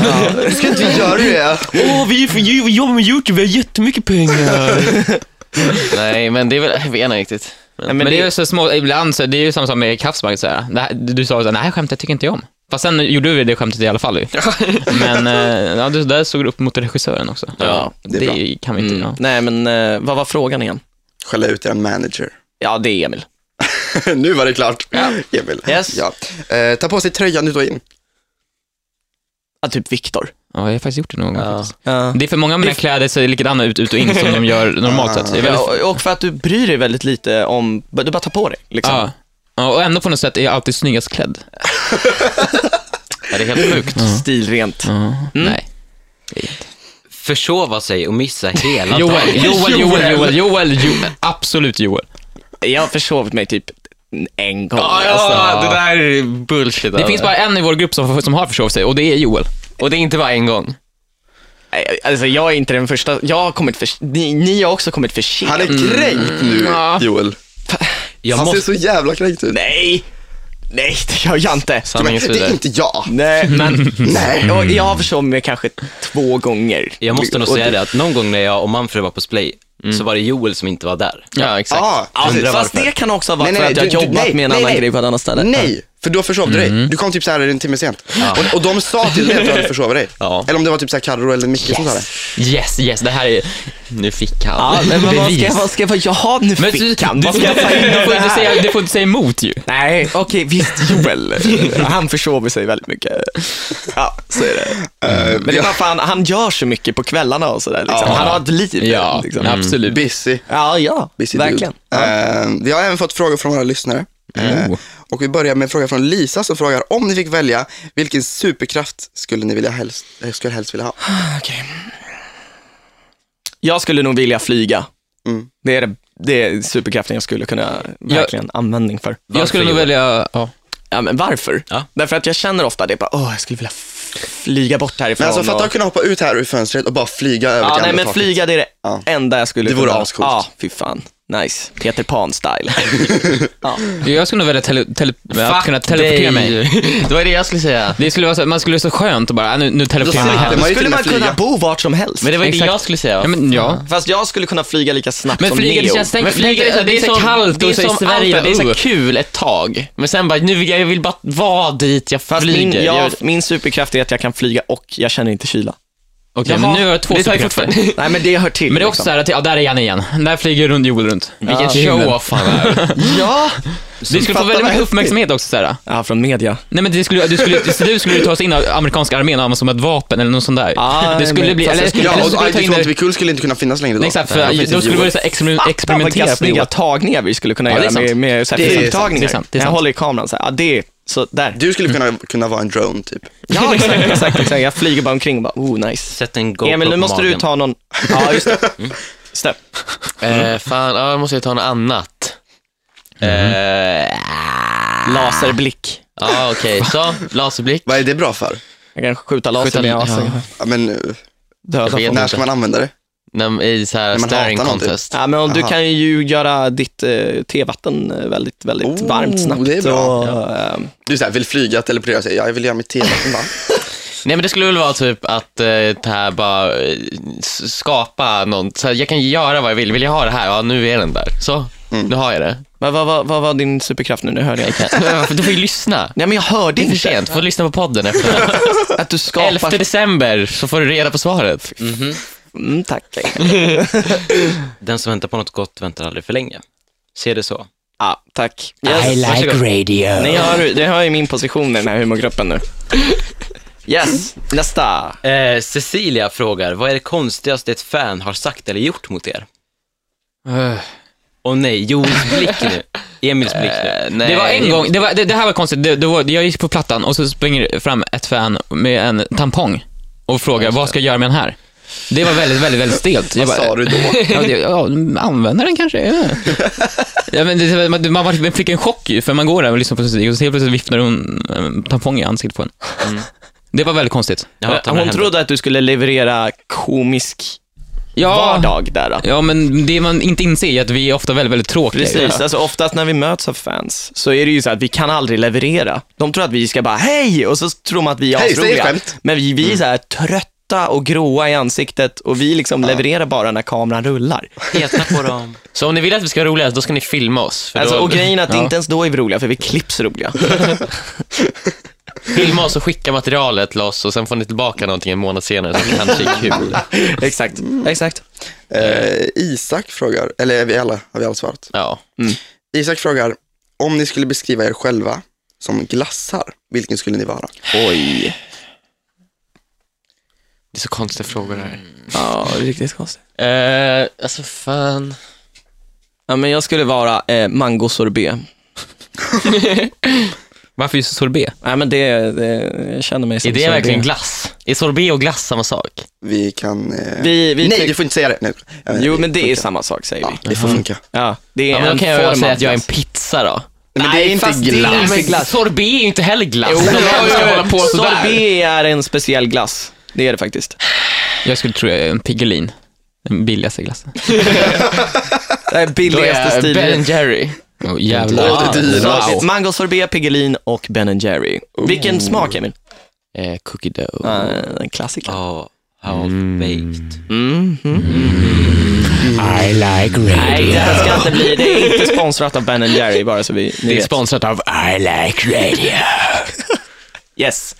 Speaker 5: Ska inte vi göra det?
Speaker 2: Åh, vi, vi jobbar med YouTube, vi har jättemycket pengar. Nej, men det är väl, jag vet inte riktigt.
Speaker 3: Nej,
Speaker 4: Men,
Speaker 3: men
Speaker 4: det är
Speaker 3: det,
Speaker 4: ju så små, ibland så, det är ju samma sak med Kafsmark så här. Det här. Du sa ju såhär, nej skämtet tycker inte jag om. Fast sen gjorde du det skämtet i alla fall ju. Men eh, ja, du, där såg du upp mot regissören också.
Speaker 5: Ja, det är
Speaker 4: det
Speaker 5: bra.
Speaker 4: kan vi inte, ja.
Speaker 3: nej men eh, vad var frågan igen?
Speaker 5: Skälla ut er manager.
Speaker 3: Ja, det är Emil.
Speaker 5: nu var det klart. Emil.
Speaker 3: Yes.
Speaker 5: Ja. Eh, ta på sig tröjan ut och in.
Speaker 3: Ja, typ Viktor.
Speaker 4: ja, jag har faktiskt gjort det någon gång faktiskt.
Speaker 3: Ja.
Speaker 4: Det är för många av mina kläder ser likadana ut, ut och in som de gör normalt sett. Det är väldigt,
Speaker 3: och- Och för att du bryr dig väldigt lite om, du bara tar på dig liksom.
Speaker 4: ja. Ja, och ändå på något sätt är jag alltid snyggast klädd.
Speaker 2: Ja, det är helt sjukt.
Speaker 3: Stilrent.
Speaker 4: Nej.
Speaker 1: Försova sig och missa hela
Speaker 4: Joel,
Speaker 1: dagen.
Speaker 4: Joel, Joel, Joel, Joel, Joel, absolut Joel.
Speaker 3: Jag har försovit mig typ en gång. alltså.
Speaker 2: Ja, Alltså, ja, det där är bullshit.
Speaker 4: Det finns bara en i vår grupp som, som har försovit sig och det är Joel.
Speaker 2: Och det är inte bara en gång.
Speaker 3: Nej, Alltså jag är inte den första, jag har kommit för, ni, ni har också kommit för sent. Mm.
Speaker 5: Han är kränkt nu, Joel.
Speaker 1: Jag
Speaker 5: Han
Speaker 1: måste...
Speaker 5: ser så jävla kränkt ut.
Speaker 3: Nej, nej det gör jag inte.
Speaker 5: Men,
Speaker 2: Sanningens
Speaker 5: det är
Speaker 2: vidare.
Speaker 5: inte jag.
Speaker 3: Nej, men
Speaker 5: Nej.
Speaker 3: och jag har försovit mig kanske två gånger.
Speaker 1: Jag måste nog
Speaker 3: Och
Speaker 1: säga det att någon gång när jag och Manfred var på Splay, så var det Joel som inte var där.
Speaker 2: Ja, exakt.
Speaker 5: Ja,
Speaker 3: Ja,
Speaker 5: precis.
Speaker 3: fast det kan också vara
Speaker 5: Nej,
Speaker 3: för
Speaker 5: nej,
Speaker 3: att jag
Speaker 5: du- du-
Speaker 3: jobbat
Speaker 5: nej,
Speaker 3: med en
Speaker 5: nej,
Speaker 3: annan
Speaker 5: nej.
Speaker 3: grej på ett annat ställe.
Speaker 5: Nej, för då försov du dig. Du kom typ så här en timme sent. Och, och de sa till dig att du hade försovit dig.
Speaker 1: Ja.
Speaker 5: Eller om det var typ så här Carro eller Micke som sa det.
Speaker 4: Yes, yes, det här är... Nu fick han
Speaker 3: Ja, men vad vad ska jag, vad ska jag, jaha nu
Speaker 4: Men du,
Speaker 3: fick han.
Speaker 4: du,
Speaker 3: Vad ska jag ta in
Speaker 4: du,
Speaker 3: av
Speaker 4: får
Speaker 3: det
Speaker 4: inte
Speaker 3: här?
Speaker 4: säga, du får inte säga emot ju.
Speaker 3: Nej, okej visst Joel. Han försover sig väldigt mycket. Ja, så är det.
Speaker 5: Mm.
Speaker 3: Men det är bara för han, han gör så mycket på kvällarna och sådär. Liksom.
Speaker 5: Ja.
Speaker 3: Han har ett liv.
Speaker 4: Ja,
Speaker 3: liksom.
Speaker 4: absolut.
Speaker 5: busy.
Speaker 3: ja, ja
Speaker 5: busy dude.
Speaker 3: verkligen.
Speaker 5: Eh, vi har även fått frågor från våra lyssnare. Eh,
Speaker 4: Oh.
Speaker 5: och vi börjar med en fråga från Lisa som frågar om ni fick välja, vilken superkraft skulle ni vilja helst, eh, skulle helst vilja ha?
Speaker 3: Jag skulle nog vilja flyga.
Speaker 5: Mm.
Speaker 3: Det är, det, det är superkraften jag skulle kunna verkligen användning för.
Speaker 4: Jag skulle nog
Speaker 1: Joel?
Speaker 4: välja... Ja.
Speaker 3: Ja, men varför?
Speaker 1: Ja.
Speaker 3: Därför att jag känner ofta det, bara, åh, jag skulle vilja f- flyga bort härifrån.
Speaker 5: Men alltså fatta
Speaker 3: och...
Speaker 5: att kunna hoppa ut här ur fönstret och bara flyga över
Speaker 3: Ja,
Speaker 5: till
Speaker 3: nej,
Speaker 5: andra
Speaker 3: men
Speaker 5: taket.
Speaker 3: flyga det är det
Speaker 5: Ja.
Speaker 3: enda jag skulle
Speaker 5: Det vore
Speaker 3: kunna-
Speaker 5: ascoolt.
Speaker 3: Ja, fy fan. Nice. Peter Pan-style.
Speaker 4: Jag skulle nog välja tele, tele, att kunna teleportera mig.
Speaker 2: det var det jag skulle säga.
Speaker 4: Det skulle vara så, man skulle vara så skönt och bara, äh, nu, nu teleporterar jag mig
Speaker 5: slipper
Speaker 4: hem.
Speaker 5: man ju
Speaker 3: skulle
Speaker 5: till och
Speaker 3: man
Speaker 5: med
Speaker 3: kunna
Speaker 5: flyga.
Speaker 3: bo vart som helst.
Speaker 2: Men det var ju det
Speaker 4: Exakt.
Speaker 2: jag skulle säga.
Speaker 4: Ja, men, ja.
Speaker 3: Fast jag skulle kunna flyga lika snabbt
Speaker 4: Men
Speaker 3: som
Speaker 4: flyga, det
Speaker 3: Neo.
Speaker 4: känns- Tänk-
Speaker 2: men flyga,
Speaker 4: tänk-
Speaker 2: det,
Speaker 4: det är
Speaker 2: är
Speaker 4: så
Speaker 2: så
Speaker 4: kallt
Speaker 2: kallt
Speaker 4: och
Speaker 2: det är
Speaker 4: så i
Speaker 2: som
Speaker 4: Sverige,
Speaker 2: Alperna, det är
Speaker 4: uh.
Speaker 2: så kul ett tag. Men sen bara, nu vill jag, jag vill bara vara dit jag
Speaker 3: Fast
Speaker 2: flyger.
Speaker 3: min,
Speaker 2: jag,
Speaker 3: jag, min superkraft är att jag kan flyga och jag känner inte kyla.
Speaker 4: Okej, men nu har jag två
Speaker 2: det tar ju
Speaker 4: superkrafter.
Speaker 2: fortfarande-
Speaker 3: Nej men det hör till. liksom.
Speaker 4: Men det är också såhär, att- ja där är Janne igen. Där flyger runt Joel runt.
Speaker 2: Vilken
Speaker 4: Ja.
Speaker 2: show-off han är.
Speaker 3: Ja!
Speaker 4: Du skulle få
Speaker 3: Fattar
Speaker 4: väldigt mycket
Speaker 3: vad
Speaker 4: uppmärksamhet också såhär.
Speaker 3: Ja, från media.
Speaker 4: Nej men det skulle, du skulle, du skulle ju ta oss in av amerikanska armén och använda som ett vapen eller något sånt där.
Speaker 3: Ah,
Speaker 4: det skulle
Speaker 3: men-
Speaker 4: bli,
Speaker 3: fast
Speaker 4: eller,
Speaker 3: jag
Speaker 4: skulle,
Speaker 3: skulle-
Speaker 4: eller
Speaker 5: Ja,
Speaker 4: så
Speaker 5: och
Speaker 4: skulle du ta in
Speaker 5: Icons
Speaker 4: det,
Speaker 5: Kul skulle inte kunna finnas längre då.
Speaker 4: nej, exakt, för
Speaker 5: Ja, då finns
Speaker 4: då
Speaker 5: det
Speaker 4: skulle vi
Speaker 5: Joel.
Speaker 4: börja så här exper-
Speaker 3: Fan
Speaker 4: experimentera
Speaker 3: vilka
Speaker 4: på
Speaker 3: snygga
Speaker 4: Joel.
Speaker 3: tagningar vi skulle kunna
Speaker 4: Ja, det är
Speaker 3: göra med,
Speaker 4: sant.
Speaker 3: med så här
Speaker 5: Det är sant.
Speaker 3: filmtagningar.
Speaker 4: Det är sant, det är
Speaker 3: Jag
Speaker 4: sant.
Speaker 3: håller i kameran så här, ja, det är, så där.
Speaker 5: Du skulle kunna, kunna vara en drone typ.
Speaker 3: Ja, exakt, exakt, exakt. Jag flyger bara omkring och bara, oh nice.
Speaker 1: Sätt en GoPro
Speaker 3: Emil, nu
Speaker 1: på
Speaker 3: måste du
Speaker 1: magen.
Speaker 3: ta någon, ja just det. Just det.
Speaker 2: Eh, fan, ja, jag måste ju ta något annat. Eh,
Speaker 3: Laserblick.
Speaker 2: ja, okej. Så, laserblick.
Speaker 5: Vad är det bra för?
Speaker 3: Jag kan skjuta laser
Speaker 2: Skjuta-
Speaker 3: med asen.
Speaker 2: ja.
Speaker 5: Ja, men eh,
Speaker 3: Döda
Speaker 2: vet
Speaker 3: folk.
Speaker 5: när ska man använda det?
Speaker 2: När- I så här
Speaker 5: När man
Speaker 2: staring
Speaker 5: hatar någon, typ.
Speaker 2: contest.
Speaker 3: Ja, men om du
Speaker 5: Aha.
Speaker 3: kan ju göra ditt eh, tevatten eh, väldigt, väldigt
Speaker 5: Oh,
Speaker 3: varmt snabbt.
Speaker 5: det är bra.
Speaker 3: Och, ehm,
Speaker 5: Du så här, vill flyga, teleportera sig. Ja, jag vill göra mitt tv. Va?
Speaker 2: Nej men det skulle väl vara typ att eh, det här bara eh, s- skapa någon, så här, jag kan göra vad jag vill. Vill jag ha det här? Ja, nu är den där. Så,
Speaker 3: Mm.
Speaker 2: nu har jag det.
Speaker 3: vad, vad, vad, vad var din superkraft nu? Nu hörde jag inte.
Speaker 2: Du får ju lyssna.
Speaker 3: Nej, men jag hörde
Speaker 2: Det är för
Speaker 3: inte
Speaker 2: sent, får lyssna på podden efter.
Speaker 3: att du
Speaker 2: 11
Speaker 3: skapar...
Speaker 2: december så får du reda på svaret.
Speaker 3: Mm, tack.
Speaker 1: Den som väntar på något gott väntar aldrig för länge. Se det så.
Speaker 3: Ja, tack. Yes.
Speaker 2: Varsågod.
Speaker 4: radio.
Speaker 3: Ni har, det har ju min position i den här humorgruppen nu. Yes, nästa.
Speaker 1: Eh, Cecilia frågar, vad är det konstigaste ett fan har sagt eller gjort mot er? Åh nej, Joels blick nu. Emils blick nu.
Speaker 2: nej.
Speaker 4: Det var en gång, det, var, det, det här var konstigt, det, det var, jag gick på plattan och så springer fram ett fan med en tampong och frågar vad ska jag göra med den här? Det var väldigt, väldigt, väldigt stelt. Jag
Speaker 5: Vad
Speaker 4: bara,
Speaker 5: sa du då?
Speaker 4: Ja, det, ja, använda den kanske. Ja. Ja, men det, man, man var- man fick en chock ju, för man går där och lyssnar på sin musik och så helt plötsligt viftar hon en tampong i ansiktet på en. Det var väldigt konstigt.
Speaker 1: Jag hatar när
Speaker 3: Hon
Speaker 1: det
Speaker 3: trodde att du skulle leverera komisk
Speaker 4: Ja,
Speaker 3: vardag där. Då.
Speaker 4: Ja, men det man inte inser är att vi är ofta väldigt, väldigt tråkiga.
Speaker 3: Precis, alltså oftast när vi möts av fans så är det ju så att vi kan aldrig leverera. De tror att vi ska bara hej och så tror de att vi är
Speaker 5: Hej, säg
Speaker 3: asroliga.
Speaker 5: skämt.
Speaker 3: Men vi, vi är så här trötta och gråa i ansiktet och vi liksom levererar bara när kameran rullar.
Speaker 1: Peta på dem.
Speaker 2: Så om ni vill att vi ska vara roliga, då ska ni filma oss. För
Speaker 3: Alltså,
Speaker 2: då,
Speaker 3: och grejen är att
Speaker 4: Ja.
Speaker 3: inte ens då är vi roliga för vi klipps roliga.
Speaker 2: Filma oss och skicka materialet till oss och sen får ni tillbaka någonting en månad senare som kanske är kul.
Speaker 3: exakt, exakt.
Speaker 5: Eh, Isak frågar, eller är vi alla, har vi alla svarat?
Speaker 2: Ja.
Speaker 5: Isak frågar, om ni skulle beskriva er själva som glassar, vilken skulle ni vara?
Speaker 3: Oj.
Speaker 2: Det är så konstiga frågor det här.
Speaker 3: Ja, riktigt konstigt.
Speaker 2: Eh, alltså fan.
Speaker 3: Ja, men jag skulle vara eh, mango sorbet.
Speaker 4: Varför just sorbet?
Speaker 3: Nej, men det, det jag känner mig som
Speaker 2: Är det
Speaker 3: sorbet.
Speaker 2: verkligen glass? Är sorbet och glass samma sak?
Speaker 5: Vi kan... Eh...
Speaker 3: Vi, vi
Speaker 5: Nej,
Speaker 3: tyck-
Speaker 5: du får inte säga det. Nej, jag vet,
Speaker 3: Jo, men
Speaker 5: funkar.
Speaker 3: det är samma sak säger vi.
Speaker 5: Ja, det får funka.
Speaker 3: Ja, det är
Speaker 2: Ja, men då
Speaker 3: en
Speaker 2: kan
Speaker 3: form
Speaker 2: jag
Speaker 3: av
Speaker 2: säga att jag är en
Speaker 3: glass.
Speaker 2: pizza då.
Speaker 5: Nej, men det är inte
Speaker 3: fast det är
Speaker 5: glass.
Speaker 3: inte
Speaker 2: Men
Speaker 3: glass.
Speaker 2: sorbet är ju inte heller glass.
Speaker 3: Jo,
Speaker 2: Om man ska
Speaker 3: jo, jo.
Speaker 2: hålla på sådär.
Speaker 3: Sorbet är en speciell glass. Det är det faktiskt.
Speaker 4: Jag skulle tro jag är en Piggelin. Den billigaste glassen.
Speaker 3: Det är
Speaker 2: Då
Speaker 3: billigaste
Speaker 2: är Ben
Speaker 3: stilen.
Speaker 2: Jerry.
Speaker 4: Oh, jävlar.
Speaker 5: Åh, det är dyrast.
Speaker 3: Wow. Mango sorbet, Piggelin och Ben Jerry. Vilken smak Emil?
Speaker 2: Eh, cookie dough.
Speaker 3: Uh, en klassiker.
Speaker 1: Ja, half baked.
Speaker 3: Nej, det här ska inte bli. Det är inte sponsrat av Ben Jerry bara så vi ni
Speaker 4: Det är
Speaker 3: vet.
Speaker 4: sponsrat av I like radio.
Speaker 3: Yes.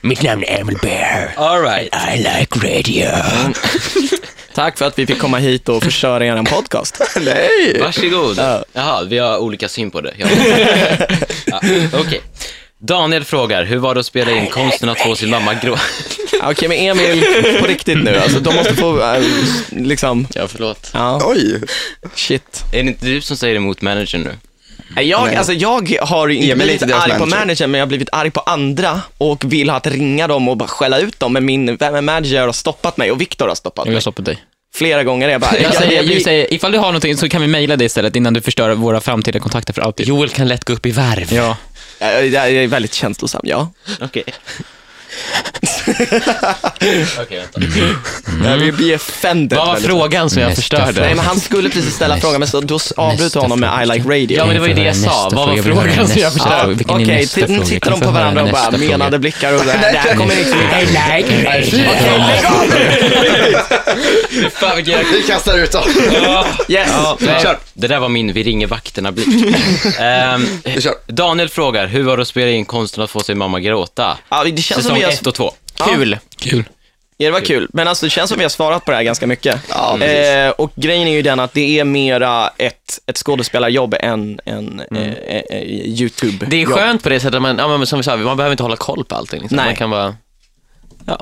Speaker 4: Mitt namn är Emil Bear.
Speaker 1: All right.
Speaker 4: I like radio.
Speaker 3: Mm. Tack för att vi fick komma hit och förstöra er podcast.
Speaker 5: Nej!
Speaker 1: Varsågod. Jaha, vi har olika syn på det. Ja. ja, Okej. Daniel frågar, hur var det att spela in konsten att få sin mamma grå...
Speaker 3: Okej, men Emil, på riktigt nu. Alltså, de måste få, eh, s- liksom,
Speaker 2: Ja, förlåt.
Speaker 3: ja,
Speaker 5: Oj!
Speaker 3: shit.
Speaker 1: Är det inte du som säger emot managern nu?
Speaker 3: Nej, Jag,
Speaker 5: Nej.
Speaker 3: alltså, jag har inte
Speaker 5: Emil är
Speaker 3: blivit
Speaker 5: inte deras
Speaker 3: arg på
Speaker 5: manager.
Speaker 3: managern, men jag har blivit arg på andra och vill ha att ringa dem och bara skälla ut dem. Men min vän- manager har stoppat mig och Viktor har stoppat mig.
Speaker 4: Jag stoppar dig.
Speaker 3: Flera gånger. Jag bara,
Speaker 4: Jag säger,
Speaker 3: jag
Speaker 4: jag
Speaker 3: blir-
Speaker 4: säger, ifall du har någonting så kan vi mejla det istället innan du förstör våra framtida kontakter för alltid.
Speaker 2: Joel kan lätt gå upp i varv.
Speaker 4: Ja.
Speaker 3: jag, jag är väldigt känslosam, ja.
Speaker 1: Okej. Okej, vänta.
Speaker 3: Mm. Jag vill bli offended.
Speaker 2: Vad var
Speaker 3: väldigt-
Speaker 2: frågan som jag
Speaker 4: Nästa
Speaker 3: Nej,
Speaker 2: förstörde?
Speaker 3: men han skulle precis ställa frågan, men så, då s- avbröt
Speaker 4: Nästa
Speaker 3: du honom med
Speaker 4: fråga.
Speaker 3: I like radio.
Speaker 2: Ja, men det var ju det jag
Speaker 4: Nästa
Speaker 2: sa. Vad var
Speaker 4: fråga, vill du höra
Speaker 2: frågan som jag
Speaker 4: nästa
Speaker 2: förstörde?
Speaker 4: fråga? Vilken är
Speaker 3: Okej,
Speaker 4: nästa
Speaker 3: t- nu
Speaker 4: fråga?
Speaker 3: tittar
Speaker 4: Kan
Speaker 3: de
Speaker 4: vi
Speaker 3: på
Speaker 4: få höra
Speaker 3: varandra och
Speaker 4: nästa
Speaker 3: bara
Speaker 4: fråga?
Speaker 3: menade blickar och sådär. Det här kommer liksom inte...
Speaker 1: Fan, vilken jäkla-
Speaker 5: Vi kastar ut dem.
Speaker 3: Yes!
Speaker 1: Nej,
Speaker 5: Kör.
Speaker 1: Det där var min vi ringer vakterna-blick. Ehm,
Speaker 5: Vi kör.
Speaker 1: Daniel frågar, hur var det att spela in Konsten att få sin mamma gråta?
Speaker 3: Ja, det känns som
Speaker 1: Säsong
Speaker 3: vi har...
Speaker 1: 1 och 2.
Speaker 2: Kul.
Speaker 4: Kul.
Speaker 3: Ja, det var kul. Men alltså, det känns som vi har svarat på det här ganska mycket.
Speaker 5: Ja, precis.
Speaker 3: eh, och grejen är ju den att det är mera ett, ett skådespelarjobb än, än
Speaker 5: Mm.
Speaker 3: eh, eh, eh, YouTube.
Speaker 2: Det är skönt på det sättet, att man, ja, men som vi sa, man behöver inte hålla koll på allting. Liksom.
Speaker 3: Nej.
Speaker 2: Man kan bara...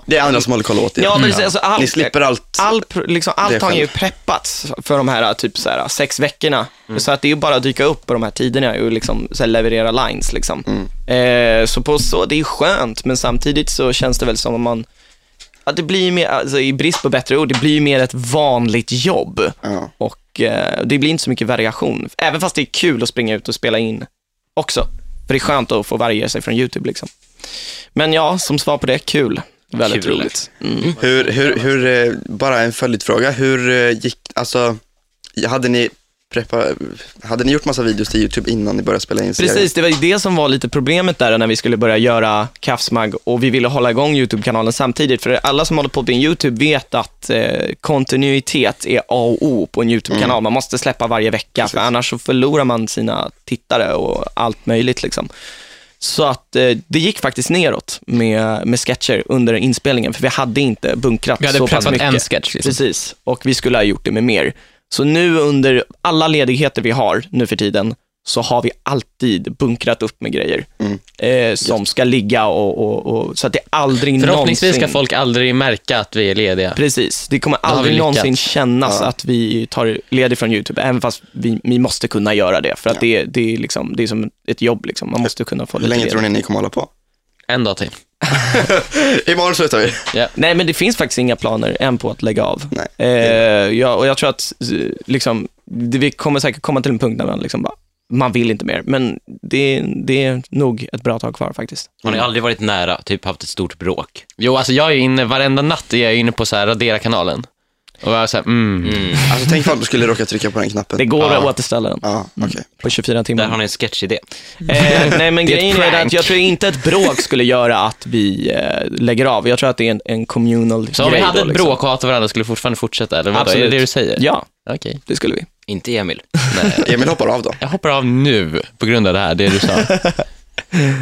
Speaker 5: Det är andra som håller koll åt er. Mm.
Speaker 3: Ja, precis. Alltså, all,
Speaker 5: Ni slipper allt.
Speaker 3: All, pr- liksom,
Speaker 5: Det är
Speaker 3: allt har ju
Speaker 5: själv.
Speaker 3: preppats för de här typ så här, sex veckorna.
Speaker 5: Mm.
Speaker 3: Så att det är ju bara att dyka upp på de här tiderna och liksom, så här, leverera lines. Liksom.
Speaker 5: Mm.
Speaker 3: Eh, så på så, det är ju skönt, men samtidigt så känns det väl som om man att det blir ju mer, alltså, i brist på bättre ord, det blir ju mer ett vanligt jobb.
Speaker 5: Ja.
Speaker 3: Och eh, det blir inte så mycket variation. Även fast det är kul att springa ut och spela in också. För det är skönt att få variera sig från YouTube liksom. Men ja, som svar på det, kul. Väldigt
Speaker 1: Kul.
Speaker 3: roligt.
Speaker 5: Mm. Hur, hur, hur, eh, bara en följdfråga. Hur eh, gick, alltså, hade ni, preppa, hade ni gjort massa videos till YouTube innan ni började spela in serien?
Speaker 3: Precis, det var ju det som var lite problemet där när vi skulle börja göra Kafsmag och vi ville hålla igång YouTube-kanalen samtidigt. För alla som håller på med YouTube vet att eh, kontinuitet är A och O på en YouTube-kanal. Man måste släppa varje vecka, för annars så förlorar man sina tittare och allt möjligt. Liksom. Så att eh, det gick faktiskt neråt med, med sketcher under inspelningen, för vi hade inte bunkrat
Speaker 4: Vi hade
Speaker 3: så pass
Speaker 4: preppat
Speaker 3: mycket.
Speaker 4: en sketch liksom.
Speaker 3: Precis, och vi skulle ha gjort det med mer. Så nu under alla ledigheter vi har nu för tiden, så har vi alltid bunkrat upp med grejer
Speaker 5: Mm.
Speaker 3: eh, som ska ligga och, och, och så att det aldrig
Speaker 2: Förhoppningsvis ska
Speaker 3: någonsin...
Speaker 2: folk aldrig märka att vi är lediga.
Speaker 3: Precis, det kommer
Speaker 2: har
Speaker 3: aldrig
Speaker 2: vi lyckats.
Speaker 3: någonsin kännas att vi tar ledigt från YouTube, även fast vi, vi måste kunna göra det, för att det, det, är liksom, det är som ett jobb, liksom. man måste kunna få
Speaker 5: Hur
Speaker 3: lite
Speaker 5: länge
Speaker 3: ledigt.
Speaker 5: tror ni ni kommer hålla på?
Speaker 2: En dag till.
Speaker 5: Imorgon slutar vi.
Speaker 3: Nej, men det finns faktiskt inga planer än på att lägga av.
Speaker 5: Nej.
Speaker 3: Eh, jag, och jag tror att eh, liksom, det, vi kommer säkert komma till en punkt där man liksom bara, man vill inte mer. Men det, det är nog ett bra tag kvar faktiskt.
Speaker 1: Har ni aldrig varit nära, typ haft ett stort bråk?
Speaker 2: Jo, alltså jag är inne, varenda natt är jag inne på så här, radera kanalen. Och jag är så här, mm.
Speaker 5: Alltså, tänk ifall du skulle råka trycka på den knappen.
Speaker 3: Det går
Speaker 2: Ja.
Speaker 3: att återställa den
Speaker 5: Ja, okej.
Speaker 3: på 24
Speaker 1: Där har
Speaker 3: timmar.
Speaker 1: ni en sketchidé.
Speaker 3: Eh, nej, men
Speaker 2: Det är ett
Speaker 3: grejen är
Speaker 2: prank.
Speaker 3: att jag tror inte ett bråk skulle göra att vi eh, lägger av. Jag tror att det är en, en communal
Speaker 2: Så om vi
Speaker 3: grej
Speaker 2: hade
Speaker 3: då,
Speaker 2: ett
Speaker 3: liksom.
Speaker 2: bråk och hatade varandra skulle vi fortfarande fortsätta, eller vadå? Är det
Speaker 3: Absolut.
Speaker 2: det du säger?
Speaker 3: Ja,
Speaker 2: Okej.
Speaker 3: det skulle vi.
Speaker 1: Inte Emil.
Speaker 5: Emil hoppar av då.
Speaker 2: Jag hoppar av nu på grund av det här, det du sa.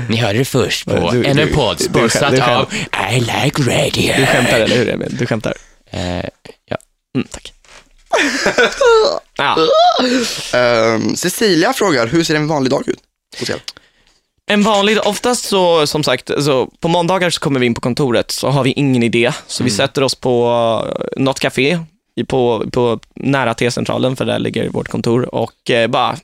Speaker 2: Ni hörde det först på
Speaker 3: Du- du-
Speaker 2: ännu en podd,
Speaker 3: du- du-
Speaker 2: sponsrat
Speaker 3: du-
Speaker 2: av I like radio.
Speaker 3: Du skämtar, eller hur Emil? Du skämtar.
Speaker 2: Eh, ja.
Speaker 3: Mm, tack. Ja.
Speaker 5: Ehm, Cecilia frågar, hur ser en vanlig dag ut? Hos er?
Speaker 3: En vanlig, oftast så, som sagt, så på måndagar så kommer vi in på kontoret, så har vi ingen idé. Så vi sätter oss på eh, något café i- på, på nära T-centralen, för där ligger vårt kontor, och eh, bara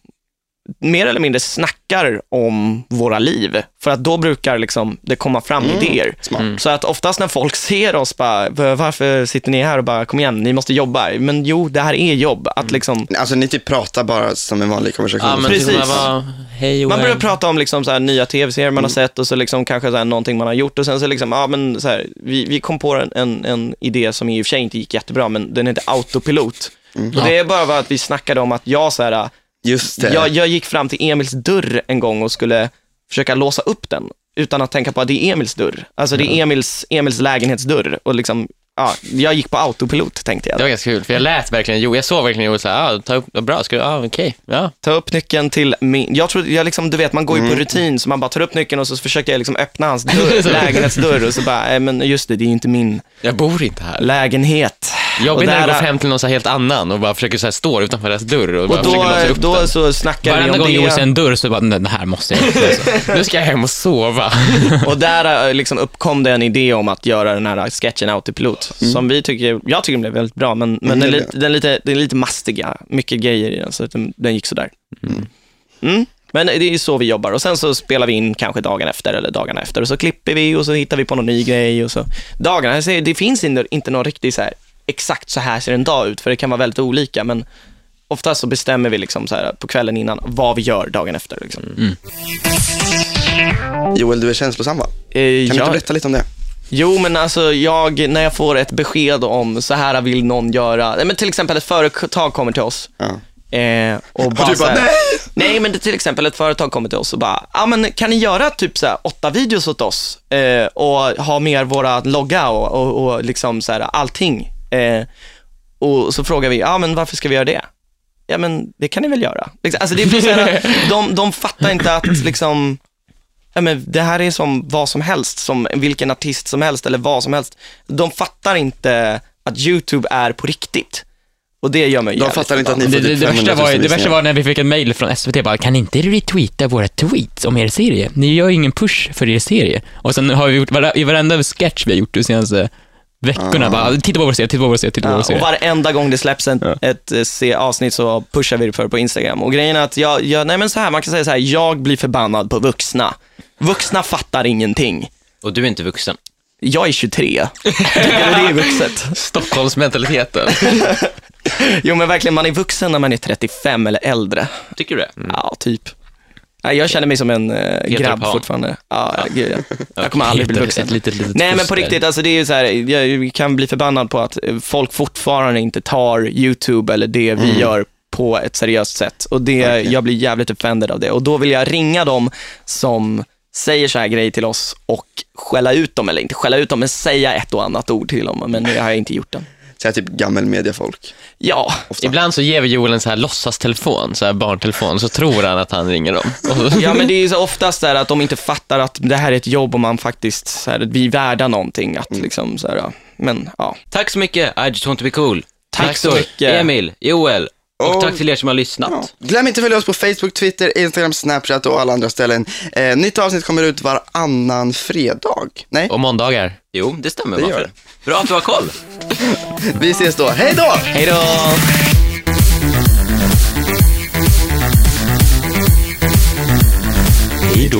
Speaker 3: mer eller mindre snackar om våra liv. För att då brukar liksom det komma fram idéer. Mm.
Speaker 5: Smart.
Speaker 3: Så att oftast när folk ser oss, bara, "Va- varför sitter ni här och bara, kom igen, ni måste jobba. Men jo, det här är jobb. Att liksom,
Speaker 5: Alltså ni typ pratar bara som en vanlig konversation.
Speaker 2: ja, men
Speaker 3: Precis.
Speaker 2: Typ, man bara, hej Joel.
Speaker 3: Man börjar prata om liksom så här nya tv-serier man har
Speaker 5: Mm.
Speaker 3: sett och så liksom kanske så här någonting man har gjort och sen så liksom, ja men så här, vi, vi kom på en, en, en idé som i och för sig inte gick jättebra, men den heter autopilot. Och det är bara för att vi snackade om att jag så här,
Speaker 5: Just Mm. det.
Speaker 3: jag, jag gick fram till Emils dörr en gång och skulle försöka låsa upp den utan att tänka på att det är Emils dörr. Alltså det är Emils, Emils lägenhetsdörr och liksom, ja, jag gick på autopilot tänkte jag.
Speaker 2: Det var ganska kul, för jag lät verkligen Joel, jag såg verkligen Joel såhär, ah, ta upp, ja, bra, ska du, ah, okej, ja.
Speaker 3: ta upp nyckeln till min, jag tror, jag liksom, du vet man går ju
Speaker 2: Mm.
Speaker 3: på rutin så man bara tar upp nyckeln och så försöker jag liksom öppna hans dörr, lägenhetsdörr och så bara, nej men just det, det är ju inte min
Speaker 2: Jag bor inte här.
Speaker 3: lägenhet. Och
Speaker 2: Jobbigt när
Speaker 3: där-
Speaker 2: du går fram till någon så här helt annan och bara försöker så här stå utanför deras dörr och, bara
Speaker 3: Och
Speaker 2: försöker
Speaker 3: då,
Speaker 2: låsa upp
Speaker 3: då
Speaker 2: den.
Speaker 3: så snackar vi
Speaker 4: Varenda gång
Speaker 3: om
Speaker 4: Joel
Speaker 3: det.
Speaker 4: ser en dörr så bara, "Nej, den här måste jag lösa."
Speaker 2: Nu ska jag hem och sova.
Speaker 3: Och där eh, liksom uppkom det en idé om att göra den här sketchen Autopilot,
Speaker 5: Mm.
Speaker 3: som vi tycker, jag tycker den blev väldigt bra, men, men den, är lite, den, är lite, den är lite mastiga, mycket grejer i den, så att den, den gick sådär. Mm. Men det är så vi jobbar och sen så spelar vi in kanske dagen efter eller dagarna efter och så klipper vi och så hittar vi på någon ny grej och så. Dagarna, jag säger, det finns inte, inte någon riktig så här, exakt så här ser en dag ut, för det kan vara väldigt olika, men oftast så bestämmer vi liksom så här, på kvällen innan vad vi gör dagen efter.
Speaker 5: Mm.
Speaker 3: Liksom.
Speaker 5: Joel, du är känslosam va? Kan
Speaker 3: Eh,
Speaker 5: du inte
Speaker 3: jag-
Speaker 5: berätta lite om det?
Speaker 3: Jo, men alltså jag, när jag får ett besked om så här vill någon göra, nej, men till exempel ett företag kommer till oss.
Speaker 5: Ja.
Speaker 3: Eh, och bara,
Speaker 5: du bara,
Speaker 3: så här-
Speaker 5: "Nej!"
Speaker 3: Nej, men det, till exempel ett företag kommer till oss och bara, ja ah, men kan ni göra typ så här åtta videos åt oss eh, och ha med våra logga och, och, och liksom så här allting. Eh, och så frågar vi, ja ah, men varför ska vi göra det? Ja men det kan ni väl göra. Liksom, Alltså det är så här, de, de fattar inte att liksom, ja, men det här är som vad som helst, som vilken artist som helst eller vad som helst. De fattar inte att YouTube är på riktigt. Och det gör mig
Speaker 5: De
Speaker 3: jävligt
Speaker 5: fattar inte att ni
Speaker 4: Det,
Speaker 5: får
Speaker 4: det,
Speaker 5: typ
Speaker 4: det,
Speaker 5: 500
Speaker 4: värsta
Speaker 5: 000
Speaker 4: var, ju- det
Speaker 5: visningar.
Speaker 4: värsta var när vi fick ett mail från SVT bara, kan ni inte retweeta våra tweets om er serie? Ni gör ju ingen push för er serie. Och sen har vi gjort, vare- i varenda sketch vi har gjort de senaste
Speaker 3: Ah.
Speaker 4: veckorna, bara, titta på vår serie, titta på vår serie, titta på
Speaker 3: Ja,
Speaker 4: vår
Speaker 3: och
Speaker 4: serie.
Speaker 3: varenda gång det släpps en, ett eh, se- avsnitt så pushar vi det för på Instagram. Och grejen är att jag, jag, nej men så här, man kan säga så här, jag blir förbannad på vuxna. Vuxna fattar ingenting.
Speaker 1: Och du är inte vuxen.
Speaker 3: Jag är 23. Tycker du det är vuxet?
Speaker 2: Stockholmsmentaliteten.
Speaker 3: Jo men verkligen, man är vuxen när man är 35 eller äldre.
Speaker 1: Tycker du det?
Speaker 3: Ja, typ. Nej, jag känner mig som en eh, grabb
Speaker 1: Pan.
Speaker 3: fortfarande. Ja, Gud, ja. Jag kommer aldrig bli
Speaker 1: Peter,
Speaker 3: vuxen.
Speaker 1: ett litet, litet
Speaker 3: Nej men på
Speaker 1: foster.
Speaker 3: riktigt, alltså det är ju så här, jag kan bli förbannad på att eh, folk fortfarande inte tar YouTube eller det vi
Speaker 1: Mm.
Speaker 3: gör på ett seriöst sätt. Och det, jag blir jävligt offended av det. Och då vill jag ringa dem som säger så här grejer till oss och skälla ut dem, eller inte skälla ut dem, men säga ett och annat ord till dem. Men det har jag inte gjort än.
Speaker 5: Så här typ gammelmediafolk.
Speaker 3: Ja,
Speaker 2: Ibland så ger vi Joel en så här låtsastelefon, så här barntelefon, så tror han att han ringer dem. Och så-
Speaker 3: ja men det är ju så oftast så här att de inte fattar att det här är ett jobb och man faktiskt, så här, vi är värda någonting. Att liksom så här, ja. men ja.
Speaker 1: Tack så mycket, I just want to be cool.
Speaker 3: Tack
Speaker 1: Viktor,
Speaker 3: så mycket.
Speaker 1: Emil, Joel och
Speaker 5: Och-
Speaker 1: tack till er som har lyssnat.
Speaker 5: Ja. Glöm inte att följa oss på Facebook, Twitter, Instagram, Snapchat och alla andra ställen. Eh, nytt avsnitt kommer ut varannan fredag. Nej,
Speaker 2: Och måndagar.
Speaker 1: Jo, det stämmer.
Speaker 5: Det gör
Speaker 1: Manfred. Bra att du har koll.
Speaker 5: vi ses då. Hej då!
Speaker 3: Hej då!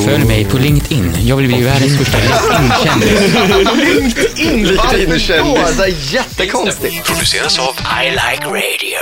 Speaker 4: Följ mig på LinkedIn, jag vill bli världens första LinkedIn-kändis.
Speaker 5: LinkedIn, varje år. Det är jättekonstigt.
Speaker 6: produceras av I Like Radio.